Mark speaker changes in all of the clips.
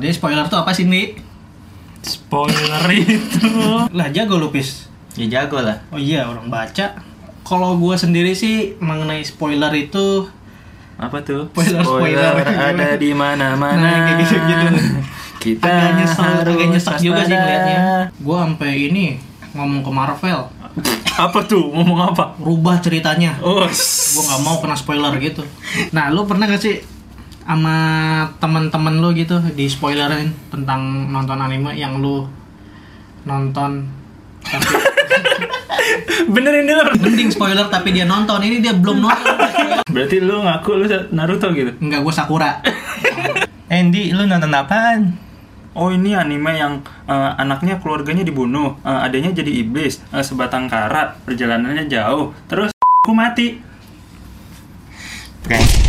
Speaker 1: Jadi spoiler tuh apa sih, Ni?
Speaker 2: Spoiler itu.
Speaker 1: Lah jago lupis.
Speaker 3: Ya jago lah.
Speaker 1: Oh iya, orang baca. Kalau gua sendiri sih mengenai spoiler itu
Speaker 2: Apa tuh?
Speaker 1: Spoiler, spoiler.
Speaker 2: ada di mana-mana.
Speaker 1: Nah, kayak
Speaker 2: gitu,
Speaker 1: gitu-gitu.
Speaker 2: Kita
Speaker 1: agak nyesel, agak
Speaker 2: harus
Speaker 1: nyesek juga sih
Speaker 2: waspada.
Speaker 1: ngeliatnya. Gua sampai ini ngomong ke Marvel,
Speaker 2: Apa tuh? Ngomong apa?
Speaker 1: rubah ceritanya.
Speaker 2: Oh,
Speaker 1: Gua nggak mau kena spoiler gitu. Nah, lu pernah gak sih sama teman-teman lu gitu di spoilerin tentang nonton anime yang lu nonton tapi
Speaker 2: benerin dulu.
Speaker 1: mending spoiler tapi dia nonton ini dia belum nonton
Speaker 2: Berarti lu ngaku lu Naruto gitu.
Speaker 1: enggak gue Sakura
Speaker 3: Andy, lu nonton apaan?
Speaker 2: Oh ini anime yang eh, anaknya keluarganya dibunuh, eh, adanya jadi iblis, eh, sebatang kara, perjalanannya jauh, terus aku mati.
Speaker 3: Prank.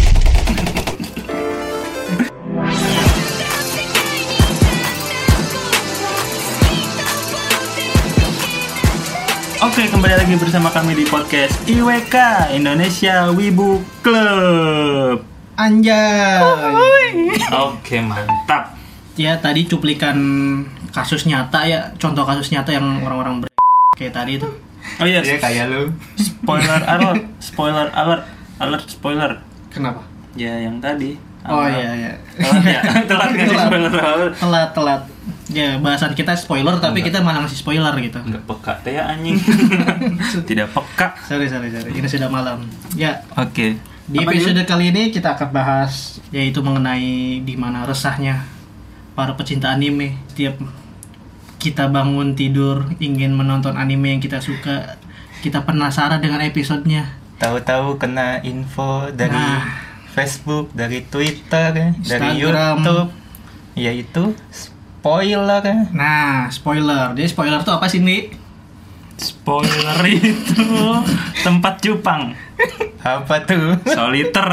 Speaker 2: Oke kembali lagi bersama kami di podcast IWK Indonesia Wibu Club.
Speaker 1: anjay
Speaker 2: Oke mantap.
Speaker 1: ya tadi cuplikan kasus nyata ya contoh kasus nyata yang orang-orang ber kayak tadi itu
Speaker 2: Oh iya
Speaker 3: Dia kayak lu.
Speaker 2: spoiler alert, spoiler alert, alert spoiler.
Speaker 1: kenapa
Speaker 2: Ya yang tadi.
Speaker 1: oh
Speaker 2: Alert.
Speaker 1: iya iya
Speaker 2: Telat ya, telat ngasih
Speaker 1: Telat.
Speaker 2: spoiler alert.
Speaker 1: telat telat ya bahasan kita spoiler tapi kita malah ngasih spoiler gitu
Speaker 2: Nggak peka teh ya, anjing. Tidak peka.
Speaker 1: sorry sorry sorry ini sudah malam ya
Speaker 2: Oke.
Speaker 1: Di
Speaker 2: Apa
Speaker 1: episode kali ini kita akan bahas yaitu mengenai di mana resahnya para pecinta anime. Setiap kita bangun tidur ingin menonton anime yang kita suka, kita penasaran dengan episodenya.
Speaker 3: Tahu-tahu kena info dari
Speaker 1: Nah.
Speaker 3: Facebook, dari Twitter, eh, dari
Speaker 1: Instagram.
Speaker 3: YouTube, yaitu spoiler. eh.
Speaker 1: Nah, spoiler. Jadi spoiler tuh apa sih, Ni?
Speaker 2: Spoiler itu tempat Jepang.
Speaker 3: Apa tuh?
Speaker 2: Soliter.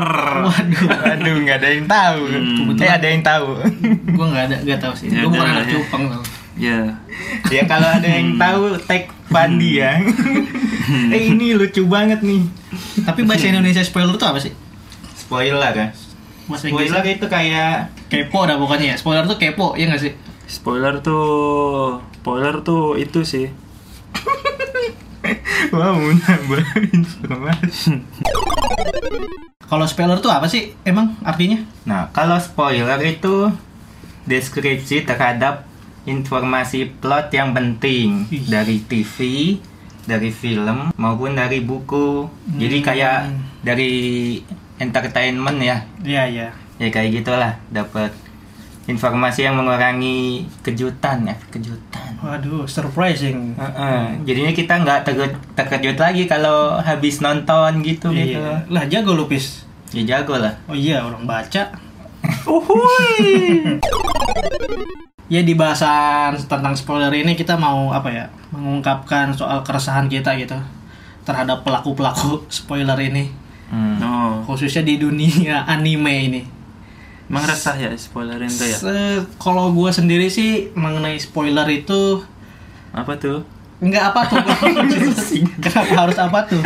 Speaker 1: Waduh,
Speaker 3: Aduh, nggak ada yang tahu.
Speaker 2: Hmm.
Speaker 3: Eh, ada yang tahu.
Speaker 1: gua nggak ada, nggak tahu sih.
Speaker 2: Ya
Speaker 1: Gua bukan
Speaker 2: udah,
Speaker 1: anak
Speaker 2: ya.
Speaker 1: Jepang tau.
Speaker 2: Ya.
Speaker 3: ya kalau ada yang tahu, tag Pandi ya. eh, ini lucu banget nih.
Speaker 1: Tapi bahasa Indonesia spoiler tuh apa sih?
Speaker 3: Spoiler ya.
Speaker 1: Bahasa Inggris
Speaker 3: Spoiler itu kayak
Speaker 1: kepo dah pokoknya ya. Spoiler tuh kepo, ya nggak sih?
Speaker 2: Spoiler tuh, spoiler tuh itu sih.
Speaker 3: Wow, nambah informasi.
Speaker 1: Kalau spoiler tuh apa sih? Emang artinya?
Speaker 3: Nah, kalau spoiler itu deskripsi terhadap informasi plot yang penting
Speaker 1: Ih.
Speaker 3: dari TV, dari film maupun dari buku. Jadi kayak
Speaker 1: Hmm.
Speaker 3: dari entertainment ya,
Speaker 1: Iya, iya.
Speaker 3: ya kayak gitulah dapat informasi yang mengurangi kejutan ya, kejutan.
Speaker 1: Waduh, surprising.
Speaker 3: Heeh, Jadinya kita nggak terke- terkejut lagi kalau habis nonton gitu gitu.
Speaker 1: Iya. Lah jago lupis.
Speaker 3: Ya jago lah.
Speaker 1: Oh iya orang baca.
Speaker 2: Uhuy.
Speaker 1: Ya di bahasan tentang spoiler ini kita mau apa ya? Mengungkapkan soal keresahan kita gitu terhadap pelaku-pelaku spoiler ini
Speaker 3: Hmm.
Speaker 2: No.
Speaker 1: khususnya di dunia anime ini.
Speaker 2: Oh, Emang resah ya spoilerin tuh ya?
Speaker 1: Se- kalau gua sendiri sih mengenai spoiler itu
Speaker 2: Apa tuh?
Speaker 1: nggak apa tuh kenapa harus apa tuh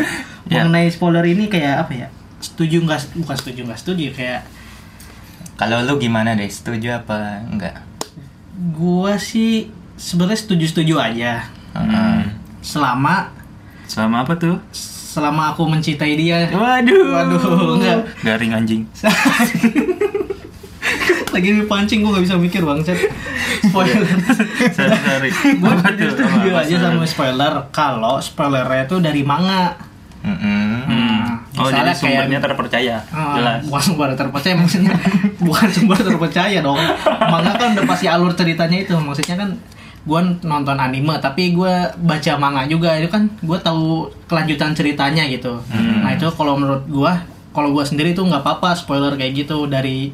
Speaker 2: Ya.
Speaker 1: mengenai spoiler ini kayak apa ya setuju nggak bukan setuju nggak setuju kayak
Speaker 3: Kalau lu gimana deh? Setuju apa enggak?
Speaker 1: gua sih sebenarnya setuju-setuju aja
Speaker 3: Heeh.
Speaker 1: selama
Speaker 2: Hmm, Selama apa tuh?
Speaker 1: selama aku mencintai dia
Speaker 2: Waduh.
Speaker 1: waduh enggak
Speaker 2: Garing anjing.
Speaker 1: lagi dipancing gue nggak bisa mikir bangset spoiler
Speaker 2: Sorry, sorry.
Speaker 1: gue
Speaker 2: Apa tuh?
Speaker 1: setuju
Speaker 2: Apa, apa,
Speaker 1: aja
Speaker 2: sorry.
Speaker 1: sama spoiler kalau spoilernya itu dari manga
Speaker 3: Mm-mm.
Speaker 2: Hmm. Oh,
Speaker 1: Misalnya
Speaker 2: jadi
Speaker 1: kayak-
Speaker 2: sumbernya terpercaya.
Speaker 1: Ah,
Speaker 2: Jelas.
Speaker 1: bukan sumber terpercaya maksudnya bukan sumber terpercaya dong manga kan udah pasti alur ceritanya itu maksudnya kan gue nonton anime tapi gue baca manga juga itu kan gue tahu kelanjutan ceritanya gitu nah itu kalau menurut gue kalau gue sendiri tuh nggak apa-apa spoiler kayak gitu dari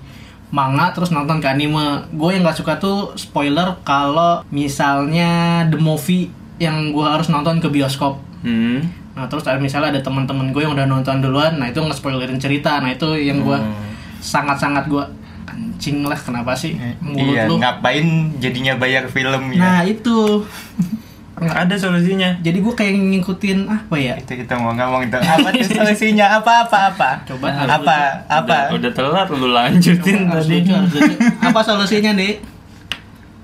Speaker 1: manga terus nonton ke anime gue yang nggak suka tuh spoiler kalau misalnya the movie yang gue harus nonton ke bioskop
Speaker 2: Hmm.
Speaker 1: Nah terus ada- misalnya ada teman-teman gue yang udah nonton duluan, nah itu nge-spoilerin cerita, nah itu yang gue
Speaker 3: Hmm.
Speaker 1: sangat-sangat gue kencing lah kenapa sih mulut
Speaker 3: Iya,
Speaker 1: lu?
Speaker 3: ngapain jadinya bayar film ya?
Speaker 1: Nah itu, Nah,
Speaker 2: Ada solusinya.
Speaker 1: jadi gue kayak ngikutin apa ya?
Speaker 3: Itu kita mau ngomong tuh. Apa tuh solusinya? Apa apa apa?
Speaker 1: Coba
Speaker 3: apa apa?
Speaker 2: Udah, udah telat lu lanjutin
Speaker 1: Harus
Speaker 2: tadi.
Speaker 1: lucu, harus lucu. apa solusinya deh?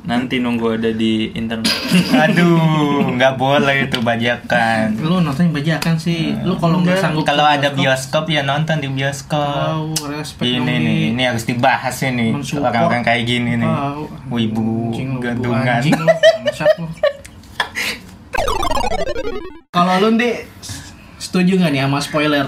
Speaker 2: Nanti nunggu ada di internet.
Speaker 3: Aduh, nggak boleh itu bajakan.
Speaker 1: Lu nonton bajakan sih. Lu kalau nggak sanggup
Speaker 3: Kalau
Speaker 1: ke
Speaker 3: ada bioskop ya nonton di bioskop.
Speaker 1: Wow, respect
Speaker 3: Ini
Speaker 1: dong,
Speaker 3: nih,
Speaker 1: Di.
Speaker 3: ini harus dibahas ini
Speaker 1: Mensupport.
Speaker 3: orang-orang kayak gini nih.
Speaker 1: Wow.
Speaker 3: Wibu
Speaker 1: Ah, Anjing lu,
Speaker 3: gadungan.
Speaker 1: anjing lu, bangsat lu. Kalau lu Ndi, setuju nggak nih sama spoiler?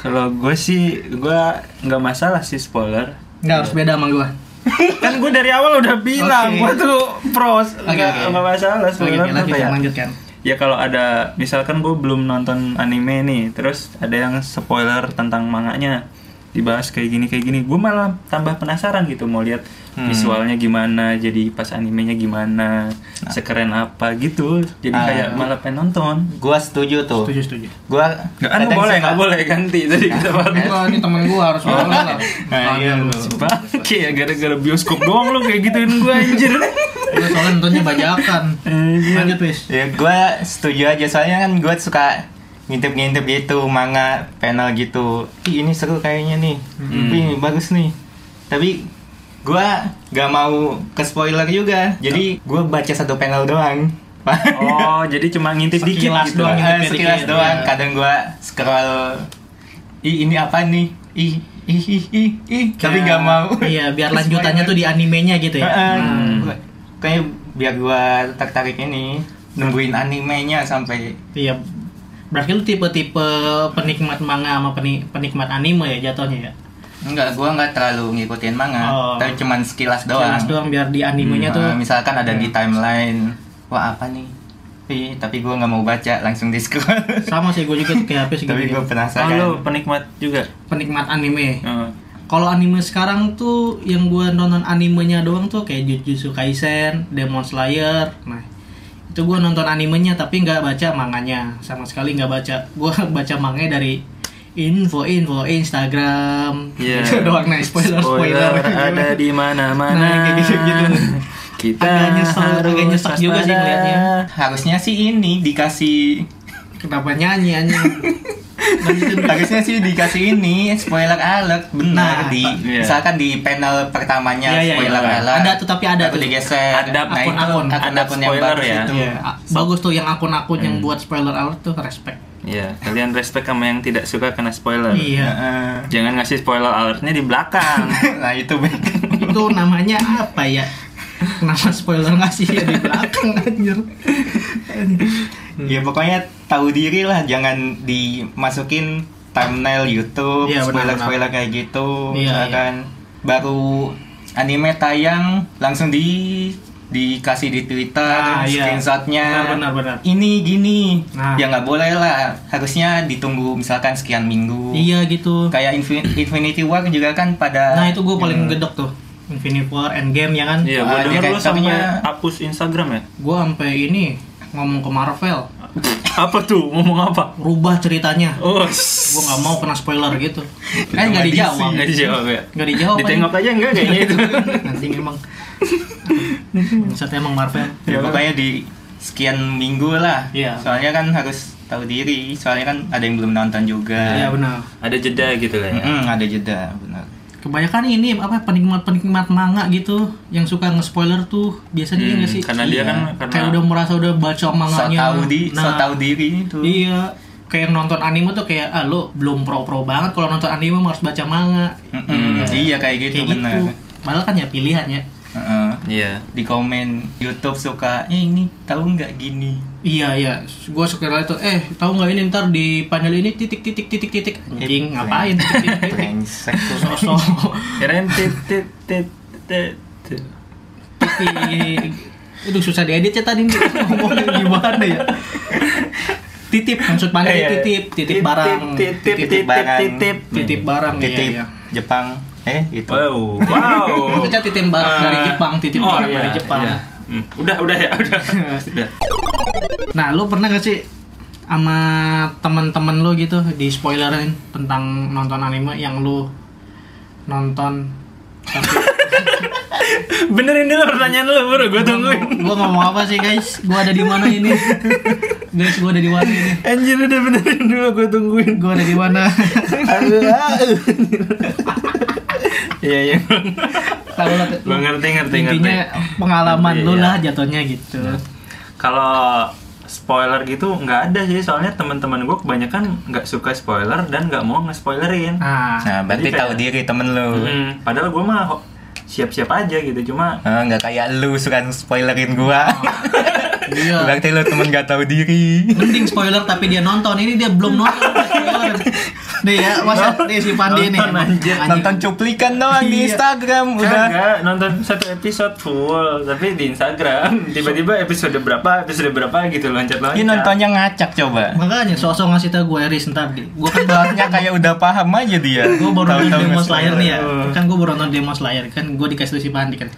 Speaker 2: Kalau gue sih, gue nggak masalah sih spoiler.
Speaker 1: Nggak harus beda sama gua.
Speaker 2: kan gue dari awal udah bilang
Speaker 1: Oke.
Speaker 2: gue tuh pros nggak
Speaker 1: oke.
Speaker 2: nggak masalah
Speaker 1: Oke,
Speaker 2: sebenarnya
Speaker 1: oke, lanjut,
Speaker 2: apa ya?
Speaker 1: lanjutkan.
Speaker 2: ya kalau ada misalkan gue belum nonton anime nih terus ada yang spoiler tentang manganya dibahas kayak gini kayak gini gue malah tambah penasaran gitu mau lihat
Speaker 1: Hmm.
Speaker 2: visualnya gimana jadi pas animenya gimana
Speaker 1: Nah.
Speaker 2: sekeren apa gitu jadi
Speaker 3: Ah.
Speaker 2: kayak malah pengen nonton
Speaker 3: Gua setuju tuh.
Speaker 1: Setuju, setuju.
Speaker 3: Gua
Speaker 2: nggak kan
Speaker 3: kadang
Speaker 2: boleh
Speaker 3: suka-
Speaker 2: nggak boleh ganti tadi kita bahas.
Speaker 1: Enggak, ini temen gua harus boleh lah.
Speaker 3: Nah, iya lu.
Speaker 2: Bangke ya gara-gara bioskop doang lo kayak gituin gue anjir
Speaker 1: Gua soalnya nontonnya bajakan. Lanjut, Wis.
Speaker 3: Ya gua setuju aja soalnya kan gua suka ngintip-ngintip gitu manga panel gitu. Ih, ini seru kayaknya nih.
Speaker 2: Hmm.
Speaker 3: Ini bagus nih. Tapi gua gak mau ke spoiler juga. Jadi gua baca satu panel doang.
Speaker 2: oh jadi cuma ngintip dikit
Speaker 1: Sekilas
Speaker 2: gitu
Speaker 1: doang.
Speaker 3: Eh,
Speaker 1: ngintipnya
Speaker 3: sekilas
Speaker 1: dikit,
Speaker 3: doang.
Speaker 1: ya.
Speaker 3: Kadang gua scroll Ih, ini apa nih? Ih, ih, ih, ih, ih.
Speaker 1: Kayak-
Speaker 2: Nah.
Speaker 3: Tapi gak mau. Ah,
Speaker 1: Iya, biar lanjutannya tuh di animenya gitu ya.
Speaker 3: Heeh.
Speaker 1: Hmm.
Speaker 3: Gua- Kayaknya biar gua tertarik ini nungguin animenya sampai
Speaker 1: Iya. Berarti lu tipe-tipe penikmat manga sama peni- penikmat anime ya jatuhnya ya.
Speaker 3: Enggak, gua nggak terlalu ngikutin manga,
Speaker 1: Oh.
Speaker 3: tapi cuman sekilas doang.
Speaker 1: Jelas doang biar di animenya
Speaker 3: Nah,
Speaker 1: tuh. Iya.
Speaker 3: misalkan ada di timeline, wah apa nih? Ih, tapi gua nggak mau baca, langsung di scroll.
Speaker 1: Sama sih gue juga kayak HP
Speaker 3: tapi
Speaker 1: segitu.
Speaker 3: gua
Speaker 2: Oh,
Speaker 3: penasaran.
Speaker 2: lu penikmat juga. Oh,
Speaker 1: Penikmat anime.
Speaker 2: Heeh.
Speaker 1: Kalau anime sekarang tuh yang gua nonton animenya doang tuh kayak Jujutsu Kaisen, Demon Slayer. Nah, itu gua nonton animenya tapi nggak baca manganya sama sekali nggak baca. Gua baca manganya dari info-info Instagram.
Speaker 2: Iya.
Speaker 1: Itu doang nah spoiler spoiler.
Speaker 2: ada di mana-mana.
Speaker 1: Nah, kayak gitu-gitu.
Speaker 2: Kita
Speaker 1: Agak nyesel, agak
Speaker 2: harus
Speaker 1: nyesek juga sih
Speaker 2: waspada.
Speaker 1: ngeliatnya.
Speaker 3: Eh, Harusnya sih ini dikasih
Speaker 1: Kenapa nyanyi anjing?
Speaker 3: harusnya sih dikasih ini spoiler alert benar
Speaker 1: Nah,
Speaker 3: di
Speaker 2: iya.
Speaker 3: misalkan di panel pertamanya
Speaker 1: Iya, iya,
Speaker 3: Ya, spoiler
Speaker 2: iya.
Speaker 3: alert
Speaker 1: Ada tuh, tapi ada
Speaker 3: Aku
Speaker 1: tuh.
Speaker 3: digeser
Speaker 2: Ada
Speaker 3: Nah, itu
Speaker 1: akun-akun,
Speaker 2: ada
Speaker 3: akun-akun yang
Speaker 2: spoiler
Speaker 3: bagus
Speaker 2: ya.
Speaker 3: itu.
Speaker 1: Iya, a- bagus tuh yang akun-akun yang
Speaker 3: Hmm.
Speaker 1: buat spoiler alert tuh respect.
Speaker 2: Iya, kalian respect sama yang tidak suka kena spoiler.
Speaker 1: Iya.
Speaker 3: Heeh.
Speaker 2: Jangan ngasih spoiler alertnya di belakang.
Speaker 3: nah itu baik
Speaker 1: itu namanya apa ya? Kenapa spoiler ngasih ya di belakang anjir? Hmm.
Speaker 3: Ya pokoknya tahu diri lah, jangan dimasukin thumbnail YouTube,
Speaker 1: Iya, benar,
Speaker 3: spoiler-spoiler kayak gitu,
Speaker 1: Iya,
Speaker 3: misalkan baru anime tayang langsung di dikasih di Twitter
Speaker 1: Ah, iya.
Speaker 3: screenshotnya
Speaker 1: Benar, benar, benar.
Speaker 3: ini gini
Speaker 1: Nah.
Speaker 3: ya nggak boleh lah harusnya ditunggu misalkan sekian minggu
Speaker 1: iya gitu.
Speaker 3: kayak Infin- Infinity War juga kan pada
Speaker 1: Nah, itu gue paling gedek tuh. Infinity War Endgame ya kan?
Speaker 2: Iya,
Speaker 3: Ah,
Speaker 2: gue
Speaker 3: dia
Speaker 2: denger
Speaker 3: kayak
Speaker 2: lu sampai
Speaker 3: taunya-
Speaker 2: hapus Instagram ya.
Speaker 1: Gue sampai ini ngomong ke Marvel,
Speaker 2: Apa tuh? Ngomong apa?
Speaker 1: rubah ceritanya.
Speaker 2: Oh,
Speaker 1: Gue nggak mau kena spoiler gitu. Kan
Speaker 3: Nggak
Speaker 1: nggak dijawab.
Speaker 2: nggak dijawab ya.
Speaker 1: Nggak dijawab.
Speaker 2: Ditengok aja enggak kayaknya itu.
Speaker 1: Nanti emang. Satu emang Marvel.
Speaker 3: Ya, pokoknya di sekian minggu lah
Speaker 1: Iya.
Speaker 3: soalnya kan harus tahu diri soalnya kan ada yang belum nonton juga
Speaker 1: Iya benar.
Speaker 2: Ada jeda gitu lah ya.
Speaker 3: Mm, ada jeda benar.
Speaker 1: Kebanyakan ini apa penikmat-penikmat manga gitu yang suka nge-spoiler tuh biasanya iya
Speaker 2: Hmm,
Speaker 1: nggak sih?
Speaker 2: karena dia
Speaker 3: Iya.
Speaker 2: kan
Speaker 1: kayak
Speaker 2: karena
Speaker 1: udah merasa udah baca
Speaker 3: So
Speaker 1: manganya.
Speaker 3: tahu di, so
Speaker 1: Nah,
Speaker 3: tahu diri itu.
Speaker 1: Iya. Kayak yang nonton anime tuh kayak ah lo belum pro-pro banget kalau nonton anime mah harus baca manga.
Speaker 3: Mm-mm, Iya kayak gitu
Speaker 1: kayak
Speaker 3: benar.
Speaker 1: gitu. Padahal kan ya pilihan ya.
Speaker 3: Heeh.
Speaker 2: Iya.
Speaker 3: Di komen YouTube suka, eh ini tahu nggak gini?
Speaker 1: Iya iya, gue suka kali tuh, eh tahu nggak ini ntar di panel ini titik titik titik titik anjing
Speaker 2: Iya.
Speaker 1: ngapain? titik, titik, titik.
Speaker 3: Brengsek tuh.
Speaker 1: Sosok
Speaker 2: Keren tit tit tit tit. tit.
Speaker 1: Titi. Aduh susah diedit ya tadi nih. ngomongnya gimana ya. Titip maksud
Speaker 3: Iya, iya.
Speaker 1: panggil titip, titip barang,
Speaker 2: Titip, titip,
Speaker 1: titip
Speaker 2: titip,
Speaker 3: barang.
Speaker 2: titip.
Speaker 1: titip barang iya,
Speaker 3: Titip
Speaker 1: iya.
Speaker 3: Jepang. Eh itu.
Speaker 2: Wow, wow.
Speaker 1: Maksudnya titip barang dari Jepang, titip
Speaker 2: Oh,
Speaker 1: barang
Speaker 2: iya,
Speaker 1: dari Jepang.
Speaker 2: iya. Hmm, Udah, udah ya, udah. udah.
Speaker 1: Nah, lu pernah gak sih sama teman-teman lu gitu di spoilerin tentang nonton anime yang lu nonton
Speaker 2: Benerin dulu pertanyaan lu, bro. Gue tungguin.
Speaker 1: gua ngomong apa sih guys gua ada di mana ini guys gua ada di mana ini
Speaker 2: Anjir, udah benerin dulu, gue tungguin.
Speaker 1: gua ada di mana
Speaker 3: Iya iya.
Speaker 1: Tahu lah.
Speaker 2: Gua ngerti, ngerti, ngerti.
Speaker 1: Intinya pengalaman
Speaker 2: Ngerti,
Speaker 1: lu
Speaker 2: iya.
Speaker 1: lah jatuhnya gitu.
Speaker 2: Kalau spoiler gitu nggak ada sih soalnya teman-teman gue kebanyakan nggak suka spoiler dan nggak mau nge-spoilerin.
Speaker 1: Nah,
Speaker 3: Nah, berarti
Speaker 2: Jadi kayak-
Speaker 3: tahu diri temen lu.
Speaker 1: Mm-hmm.
Speaker 2: Mm, Padahal gue mah ho- siap-siap aja gitu cuma
Speaker 3: Ah, nggak kayak lu suka spoilerin gua.
Speaker 1: Oh, iya.
Speaker 3: berarti lu temen gak tahu diri.
Speaker 1: Mending spoiler tapi dia nonton. Ini dia belum nonton. spoiler. Nih ya, masa nih si Pandi nih.
Speaker 2: Nonton, anjir.
Speaker 1: Anjing.
Speaker 3: Nonton cuplikan doang di
Speaker 2: Iya.
Speaker 3: Instagram udah.
Speaker 2: Kagak, nonton satu episode full tapi di Instagram tiba-tiba episode berapa episode berapa gitu loncat-loncat.
Speaker 3: Ini
Speaker 1: Iya,
Speaker 3: nontonnya ngacak coba.
Speaker 1: Makanya sosok ngasih tau gue Eris ntar di. Gue kan baru
Speaker 3: Barunya kayak udah paham aja dia.
Speaker 1: gue baru
Speaker 3: Tahu-tahu
Speaker 1: nonton Demon
Speaker 3: nge-spoiler.
Speaker 1: Slayer nih ya
Speaker 2: Hmm.
Speaker 1: kan gue baru nonton Demon Slayer kan gue dikasih tuh si Pandi kan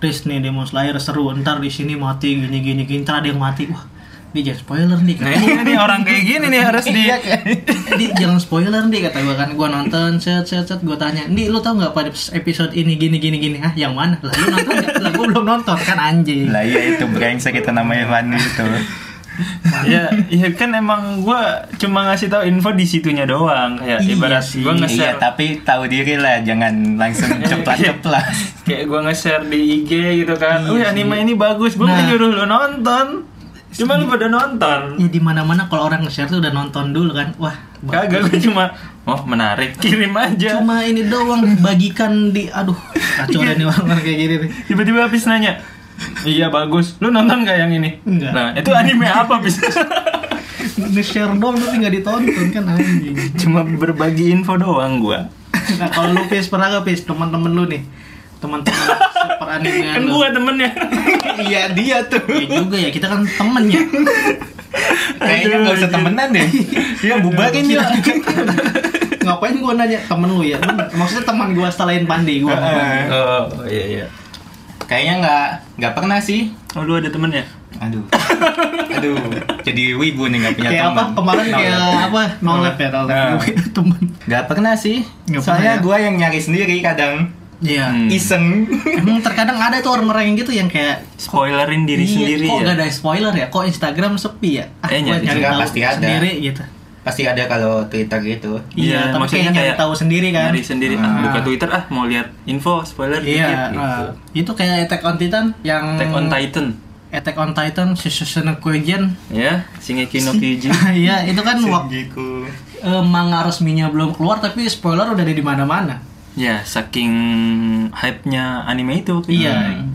Speaker 1: Riz nih Demon Slayer seru ntar di sini mati gini gini gini ntar ada yang mati wah dia jangan spoiler nih kan.
Speaker 2: Nah
Speaker 1: kata
Speaker 2: ini nih orang kayak gini nih harus di
Speaker 3: Iya kan?
Speaker 1: di jangan spoiler nih kata gue kan gue nonton set set set gue tanya nih lu tau nggak pada episode ini gini gini gini ah yang mana lah lu nonton nggak? lah gue belum nonton kan anjing
Speaker 3: Lah iya itu brengsek kita namanya Fandi itu.
Speaker 2: ya, ya kan emang gua cuma ngasih tahu info di situnya doang kayak
Speaker 1: Iya
Speaker 2: ibarat
Speaker 1: sih.
Speaker 2: gua
Speaker 3: Iya
Speaker 2: nge-share
Speaker 3: tapi tahu diri lah jangan langsung
Speaker 1: Iya.
Speaker 3: ceplas-ceplas.
Speaker 2: kayak gua nge-share di IG gitu kan. Wih anime ini bagus,
Speaker 1: Iya
Speaker 2: gua
Speaker 1: Nah.
Speaker 2: nggak nyuruh lu nonton. Cuma lu pada nonton.
Speaker 1: ya di mana mana kalau orang nge-share tuh udah nonton dulu kan wah
Speaker 2: Kagak gua cuma oh menarik kirim aja.
Speaker 1: cuma ini doang bagikan di aduh kacau deh nih orang kayak gini nih
Speaker 2: Tiba-tiba habis nanya. Iya bagus. Lu nonton gak yang ini?
Speaker 1: Enggak.
Speaker 2: Nah, itu anime apa bis?
Speaker 1: nge-share doang tapi nggak ditonton kan anjing
Speaker 2: cuma berbagi info doang gua.
Speaker 1: nah kalau lu Fis pernah gak Fis teman-teman lu nih teman-teman super anime
Speaker 2: Kan
Speaker 1: lu
Speaker 2: gua temennya.
Speaker 3: Iya dia tuh.
Speaker 1: Iya juga ya kita kan temen ya
Speaker 3: Kayaknya nggak usah temenan deh. Iya bubarin dia.
Speaker 1: ngapain gua nanya temen lu ya maksudnya teman gua selain Pandi gua
Speaker 3: Heeh.
Speaker 2: Oh, iya iya.
Speaker 3: Eh, Kayaknya nggak nggak pernah sih.
Speaker 2: Oh, lu ada temennya?
Speaker 3: Aduh. Aduh. Jadi wibu nih nggak punya
Speaker 1: kayak
Speaker 3: teman.
Speaker 1: apa kemarin kayak apa nolep ya nolep
Speaker 3: Nah.
Speaker 1: Gua temen
Speaker 3: Gak pernah sih.
Speaker 1: Nggak pernah ya?
Speaker 3: Soalnya gua yang nyari sendiri kadang.
Speaker 1: Iya
Speaker 2: Hmm.
Speaker 3: Iseng.
Speaker 1: emang terkadang ada tuh orang-orang yang gitu yang kayak
Speaker 2: Spoilerin diri
Speaker 1: "Iya,
Speaker 2: sendiri
Speaker 1: kok
Speaker 2: ya.
Speaker 1: gak ada spoiler ya kok Instagram sepi ya ah,
Speaker 2: Eh,
Speaker 1: gua
Speaker 2: nyari-
Speaker 1: nyari
Speaker 3: Enggak,
Speaker 1: tahu
Speaker 3: pasti ada.
Speaker 1: sendiri gitu
Speaker 3: Pasti ada kalau Twitter gitu.
Speaker 1: iya
Speaker 2: Iya,
Speaker 1: tapi
Speaker 2: maksudnya
Speaker 1: kayak nyari
Speaker 2: kayak
Speaker 1: tahu sendiri kan
Speaker 2: Nyari sendiri. Ah,
Speaker 1: Ah.
Speaker 2: buka Twitter ah mau lihat info spoiler
Speaker 1: Iya,
Speaker 2: dikit gitu.
Speaker 1: eh, itu kayak Attack on Titan yang
Speaker 2: Attack on Titan.
Speaker 1: Attack on Titan Shisusune no Kyojin.
Speaker 2: Ya, Shingeki no Kyojin.
Speaker 1: Iya, itu kan waktu
Speaker 3: Gitu.
Speaker 1: manga resminya belum keluar tapi spoiler udah ada di mana-mana.
Speaker 2: ya, saking hype-nya anime itu. waktu itu.
Speaker 1: Iya.
Speaker 2: Hmm.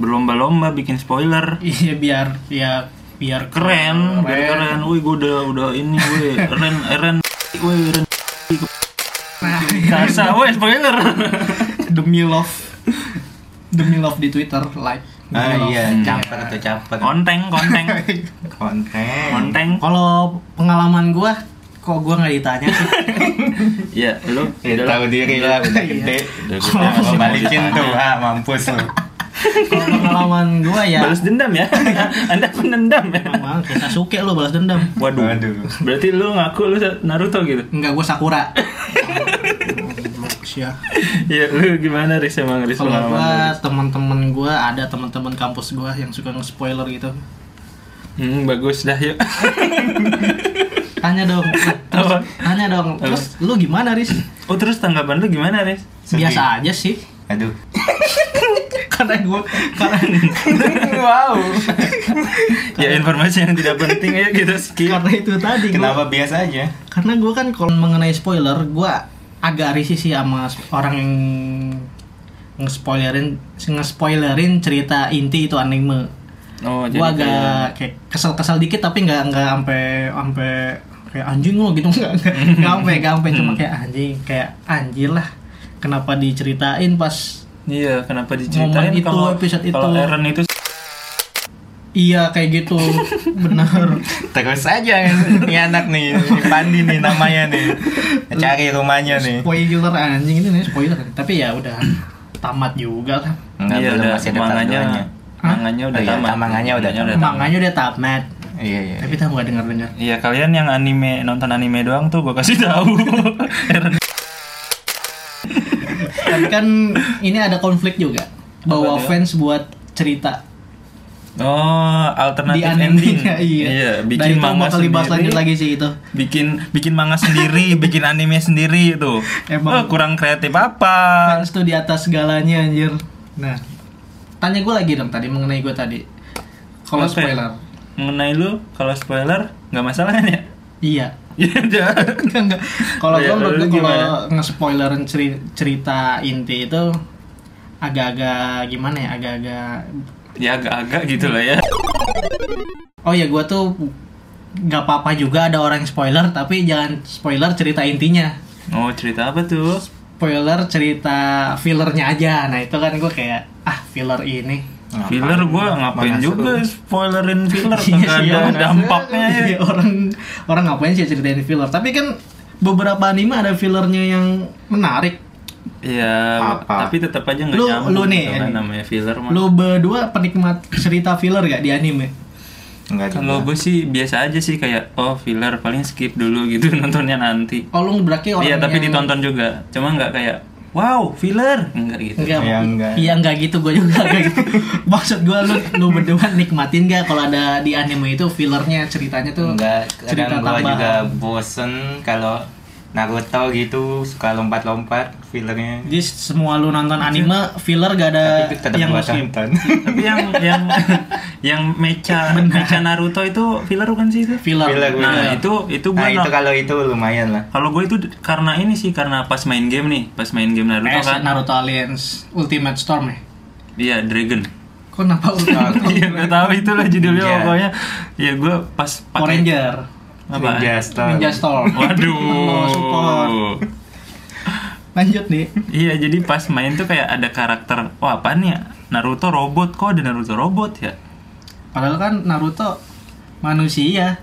Speaker 2: Berlomba-lomba bikin spoiler.
Speaker 1: Iya, biar ya biar Ah,
Speaker 2: Keren, biar keren. Wih, gue udah udah ini, eh, wih, Eren, Eren, wih, Eren. Kasa, wih, spoiler.
Speaker 1: demi love. Demi love di Twitter live.
Speaker 3: Ah
Speaker 1: Demi love.
Speaker 3: iya,
Speaker 2: Hmm.
Speaker 3: caper tuh caper.
Speaker 2: konteng, konteng,
Speaker 3: Konten.
Speaker 2: konteng.
Speaker 1: Kalau pengalaman gua kok gua nggak ditanya sih.
Speaker 2: Ya, lu
Speaker 3: Ya
Speaker 2: udah lah.
Speaker 3: tahu diri lah udah gede.
Speaker 2: Udah gede,
Speaker 3: Nah,
Speaker 2: mau
Speaker 3: mau balikin
Speaker 2: ditanya.
Speaker 3: tuh, ah Iya. mampus lu.
Speaker 1: Kalau pengalaman gua ya
Speaker 2: Balas dendam ya. Anda penendam ya.
Speaker 1: memang kita suke lu balas dendam.
Speaker 2: Waduh.
Speaker 3: Waduh.
Speaker 2: Berarti lu ngaku lu Naruto gitu.
Speaker 1: Enggak gua Sakura. Siap.
Speaker 2: Iya, lu gimana Riz emang Riz
Speaker 1: kalau
Speaker 2: pengalaman lu?
Speaker 1: gua teman-teman gua ada teman-teman kampus gua yang suka nge-spoiler gitu
Speaker 2: Hmm, bagus dah yuk.
Speaker 1: tanya dong terus,
Speaker 2: Apa?
Speaker 1: tanya dong terus lu gimana Riz
Speaker 2: Oh, terus tanggapan lu gimana, Riz?
Speaker 3: Sedih.
Speaker 1: biasa aja sih
Speaker 3: Aduh.
Speaker 1: karena gua karena
Speaker 3: wow.
Speaker 2: Ya informasi yang tidak penting ya kita skip.
Speaker 1: karena itu tadi gua-
Speaker 3: Kenapa biasa aja?
Speaker 1: karena gua kan kalau mengenai spoiler gua agak risih sih sama sp- orang yang nge-spoilerin nge-spoilerin cerita inti itu anime
Speaker 2: Oh,
Speaker 1: gua agak kayak kesel-kesel dikit tapi nggak nggak sampai sampai kayak anjing lo gitu nggak nggak nggak sampai nggak sampai cuma kayak anjing kayak anjir lah kenapa diceritain pas
Speaker 2: Iya, kenapa
Speaker 1: Momen
Speaker 2: diceritain
Speaker 1: itu,
Speaker 2: kalau
Speaker 1: episode itu.
Speaker 2: kalau Eren itu
Speaker 1: iya kayak gitu bener
Speaker 3: Terus aja nih anak nih, si Pandi nih namanya nih. Cari rumahnya nih.
Speaker 1: spoiler anjing ini nih spoiler tapi ya udah tamat juga lah
Speaker 3: Enggak
Speaker 2: iya,
Speaker 3: belum
Speaker 2: udah
Speaker 3: masih ada
Speaker 2: manganya.
Speaker 3: tanduannya.
Speaker 1: Hah?
Speaker 2: Manganya udah
Speaker 3: Oh, iya,
Speaker 2: tamat.
Speaker 3: manganya udah tamat.
Speaker 1: manganya udah tamat
Speaker 3: Iya iya.
Speaker 1: tapi tahu nggak dengar dengar
Speaker 2: Iya, kalian yang anime nonton anime doang tuh gua kasih tahu. Eren
Speaker 1: tapi kan ini ada konflik juga bahwa
Speaker 2: dia?
Speaker 1: fans buat cerita
Speaker 2: Oh, alternatif ending.
Speaker 1: animenya, iya. Nah,
Speaker 2: bikin
Speaker 1: itu
Speaker 2: manga
Speaker 1: bakal dibahas
Speaker 2: sendiri.
Speaker 1: lanjut lagi sih itu.
Speaker 2: Bikin bikin manga sendiri, bikin anime sendiri itu.
Speaker 1: Emang.
Speaker 2: Eh, kurang kreatif apa?
Speaker 1: Fans tuh di atas segalanya anjir. Nah, tanya gue lagi dong tadi mengenai gue tadi. Kalau
Speaker 2: Oke.
Speaker 1: spoiler.
Speaker 2: Mengenai lu kalau spoiler nggak masalah kan ya?
Speaker 1: Iya.
Speaker 2: Iya, jangan.
Speaker 1: Enggak, enggak. Kalau
Speaker 2: Oh, iya,
Speaker 1: gue menurut
Speaker 2: lu
Speaker 1: gue
Speaker 2: gimana?
Speaker 1: kalau nge-spoilerin ceri- cerita inti itu agak-agak gimana ya? Agak-agak
Speaker 2: ya agak-agak gitu lah ya.
Speaker 1: Oh ya gue tuh nggak apa-apa juga ada orang yang spoiler tapi jangan spoiler cerita intinya
Speaker 2: Oh, cerita apa tuh?
Speaker 1: spoiler cerita fillernya aja nah itu kan gue kayak ah filler ini
Speaker 2: Filler gua ngapain
Speaker 3: Mana
Speaker 2: juga spoilerin filler
Speaker 1: Iya
Speaker 2: kagak
Speaker 1: sih,
Speaker 2: ada
Speaker 1: orang-
Speaker 2: dampaknya ya.
Speaker 1: Iya, orang orang ngapain sih ceritain filler tapi kan beberapa anime ada fillernya yang menarik
Speaker 2: Iya,
Speaker 3: Apa?
Speaker 2: tapi tetap aja nggak
Speaker 1: Lu-
Speaker 2: nyambung.
Speaker 1: lu nih, eh.
Speaker 2: gitu kan,
Speaker 1: Edi.
Speaker 2: namanya filler mah.
Speaker 1: lo berdua penikmat cerita filler gak di anime
Speaker 3: Enggak juga.
Speaker 2: Kalau gue sih biasa aja sih kayak oh filler paling skip dulu gitu nontonnya nanti.
Speaker 1: oh lu berarti orang
Speaker 2: Iya tapi
Speaker 1: yang-
Speaker 2: ditonton juga. Cuma nggak kayak wow filler enggak gitu.
Speaker 1: Enggak,
Speaker 3: Ya, enggak.
Speaker 1: Iya enggak gitu gue juga enggak gitu. Maksud gue lu lu berdua nikmatin gak kalau ada di anime itu fillernya ceritanya tuh
Speaker 3: Enggak,
Speaker 1: cerita
Speaker 3: kadang gua
Speaker 1: tambahan.
Speaker 3: juga bosen kalau Naruto gitu suka lompat-lompat fillernya.
Speaker 1: Jadi semua lu nonton anime filler gak ada
Speaker 3: Tapi itu
Speaker 1: Ya,
Speaker 3: tetap
Speaker 1: yang
Speaker 3: gua
Speaker 1: muslim.
Speaker 3: tonton.
Speaker 2: tapi yang yang yang mecha mecha Naruto itu filler bukan sih itu?
Speaker 1: Filler.
Speaker 3: Filler,
Speaker 1: Nah,
Speaker 2: Nah
Speaker 3: Bener.
Speaker 2: itu itu gue
Speaker 3: Nah, itu kalau itu lumayan lah.
Speaker 2: kalau gue itu d- karena ini sih karena pas main game nih pas main game Naruto
Speaker 1: eh,
Speaker 2: kan
Speaker 1: Naruto Alliance Ultimate Storm ya.
Speaker 2: iya Dragon
Speaker 1: Kok kenapa Ultimate Storm?
Speaker 2: iya nggak tahu itulah judulnya
Speaker 3: Iya.
Speaker 2: pokoknya ya gue pas
Speaker 1: Power
Speaker 2: pakai
Speaker 1: Ranger,
Speaker 2: apa
Speaker 3: Ninja Storm.
Speaker 1: Ninja Storm. Lo support.
Speaker 2: waduh
Speaker 1: Lanjut nih.
Speaker 2: Iya, jadi pas main tuh kayak ada karakter, wah apaan ya? Naruto robot, kok ada Naruto robot ya?
Speaker 1: Padahal kan Naruto manusia.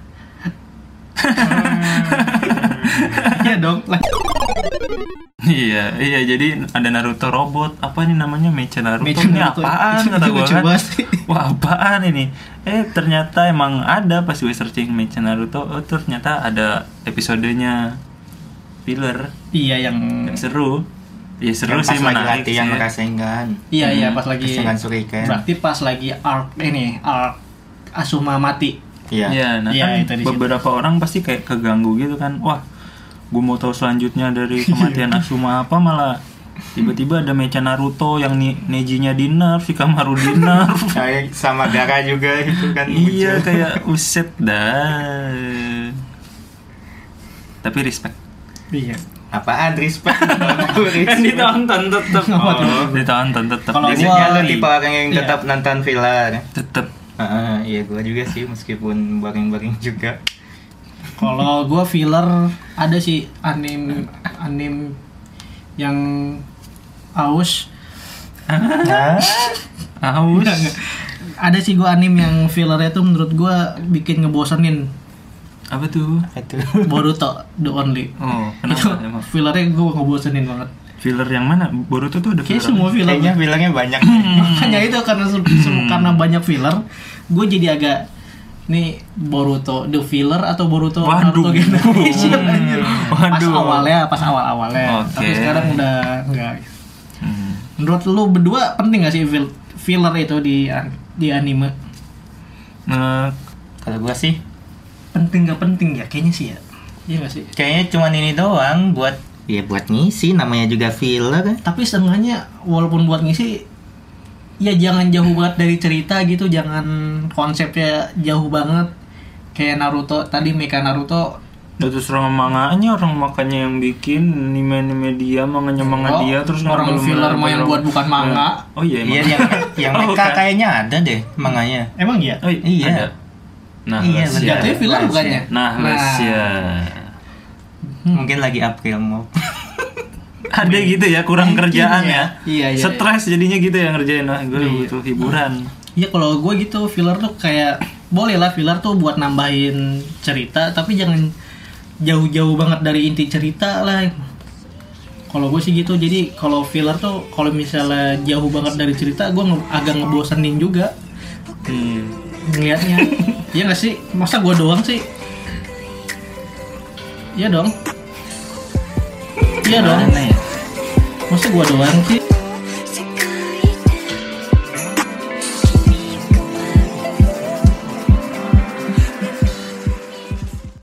Speaker 1: Iya dong. Lan-
Speaker 2: iya, iya jadi ada Naruto robot, apa ini namanya Mecha Naruto?
Speaker 1: Mecha
Speaker 2: ini
Speaker 1: Naruto. ya?
Speaker 2: apaan
Speaker 1: Itu
Speaker 2: kata gua
Speaker 1: lucu
Speaker 2: kan?
Speaker 1: banget sih.
Speaker 2: Wah apaan ini? Eh ternyata emang ada pas gue searching Mecha Naruto, oh ternyata ada episodenya filler,
Speaker 1: Iya yang
Speaker 2: yang seru. Ya seru
Speaker 3: Yang kan. Hmm,
Speaker 2: sih
Speaker 3: pas lagi
Speaker 2: menarik. sih
Speaker 3: latihan
Speaker 2: ya.
Speaker 3: Rasengan.
Speaker 1: Iya iya
Speaker 2: Hmm,
Speaker 1: pas lagi
Speaker 3: Rasengan
Speaker 2: kan.
Speaker 3: Shuriken.
Speaker 1: Berarti pas lagi arc ini arc Asuma mati.
Speaker 3: Iya.
Speaker 2: Iya, nah
Speaker 1: Iya,
Speaker 2: kan
Speaker 1: itu di situ.
Speaker 2: beberapa orang pasti kayak keganggu gitu kan. Wah, gue mau tahu selanjutnya dari kematian Asuma apa malah tiba-tiba ada Mecha Naruto yang ni Nejinya di nerf, Shikamaru di nerf.
Speaker 3: Kayak sama Gara juga itu kan
Speaker 2: iya,
Speaker 3: muncul.
Speaker 2: kayak uset dah. Tapi respect.
Speaker 1: Iya.
Speaker 3: Apaan respect?
Speaker 1: Kan
Speaker 2: ditonton tetap. Oh, ditonton tetap.
Speaker 1: Kalau
Speaker 2: Jadi
Speaker 1: gua-
Speaker 3: Biasanya lu tipe orang yang
Speaker 1: Iya.
Speaker 3: tetap nonton filler.
Speaker 2: tetap
Speaker 3: Heeh, iya gua juga sih meskipun baring-baring juga.
Speaker 1: Kalau gua filler ada sih anim anim yang aus.
Speaker 2: aus.
Speaker 1: Iya, Ada sih gua anim yang fillernya tuh menurut gua bikin ngebosenin.
Speaker 2: Apa tuh?
Speaker 3: Aduh.
Speaker 1: Boruto the only.
Speaker 2: Oh,
Speaker 1: Itu
Speaker 2: kenapa emang?
Speaker 1: fillernya gua ngebosenin banget.
Speaker 2: Filler yang mana? Boruto tuh ada
Speaker 1: Kayak
Speaker 2: filler.
Speaker 1: semua filler
Speaker 3: Kayaknya bilangnya banyak.
Speaker 1: makanya itu karena se-
Speaker 2: Hmm.
Speaker 1: se- karena banyak filler gue jadi agak nih Boruto the filler atau Boruto Naruto
Speaker 2: Waduh.
Speaker 1: Generation anjir. pas
Speaker 2: Waduh.
Speaker 1: awalnya pas awal awalnya
Speaker 2: Oke.
Speaker 1: tapi sekarang udah enggak
Speaker 2: Hmm.
Speaker 1: menurut lu berdua penting gak sih fil- filler itu di an- di anime
Speaker 2: Nah,
Speaker 3: Kalau gua sih
Speaker 1: penting gak penting ya kayaknya sih ya iya gak sih
Speaker 3: kayaknya cuman ini doang buat ya buat ngisi namanya juga filler kan.
Speaker 1: tapi setengahnya walaupun buat ngisi ya jangan jauh banget dari cerita gitu jangan konsepnya jauh banget kayak Naruto tadi Mecha Naruto
Speaker 2: Ya terus orang manganya orang makanya yang bikin anime anime dia manganya manga
Speaker 1: Oh,
Speaker 2: dia terus
Speaker 1: orang
Speaker 2: ngambil-
Speaker 1: filler mah yang
Speaker 2: ngambil-
Speaker 1: buat bukan manga.
Speaker 2: Oh iya emang.
Speaker 3: Iya yang yang
Speaker 2: Oh,
Speaker 3: mereka
Speaker 2: bukan.
Speaker 3: kayaknya ada deh manganya.
Speaker 1: emang iya
Speaker 2: Oh,
Speaker 3: Iya.
Speaker 2: ada. Nah,
Speaker 3: Iya,
Speaker 2: les ya.
Speaker 3: benar.
Speaker 1: Jatuhnya filler
Speaker 3: Lansia.
Speaker 1: bukannya?
Speaker 2: Nah, les ya. Hmm.
Speaker 3: Mungkin lagi April mau.
Speaker 2: Ada gitu ya kurang kerjaan
Speaker 1: ya.
Speaker 2: ya.
Speaker 1: Iya, iya,
Speaker 2: Stres jadinya gitu ya ngerjain ah gue butuh hiburan.
Speaker 1: Iya kalau gue gitu filler tuh kayak boleh lah filler tuh buat nambahin cerita tapi jangan jauh-jauh banget dari inti cerita lah. Kalau gue sih gitu jadi kalau filler tuh kalau misalnya jauh banget dari cerita gue nge- agak ngebosenin juga
Speaker 2: Hmm.
Speaker 1: ngelihatnya. Iya gak sih? Masa gue doang sih? Iya dong. Iya dong.
Speaker 2: Aneh ya.
Speaker 1: Masa gue doang sih?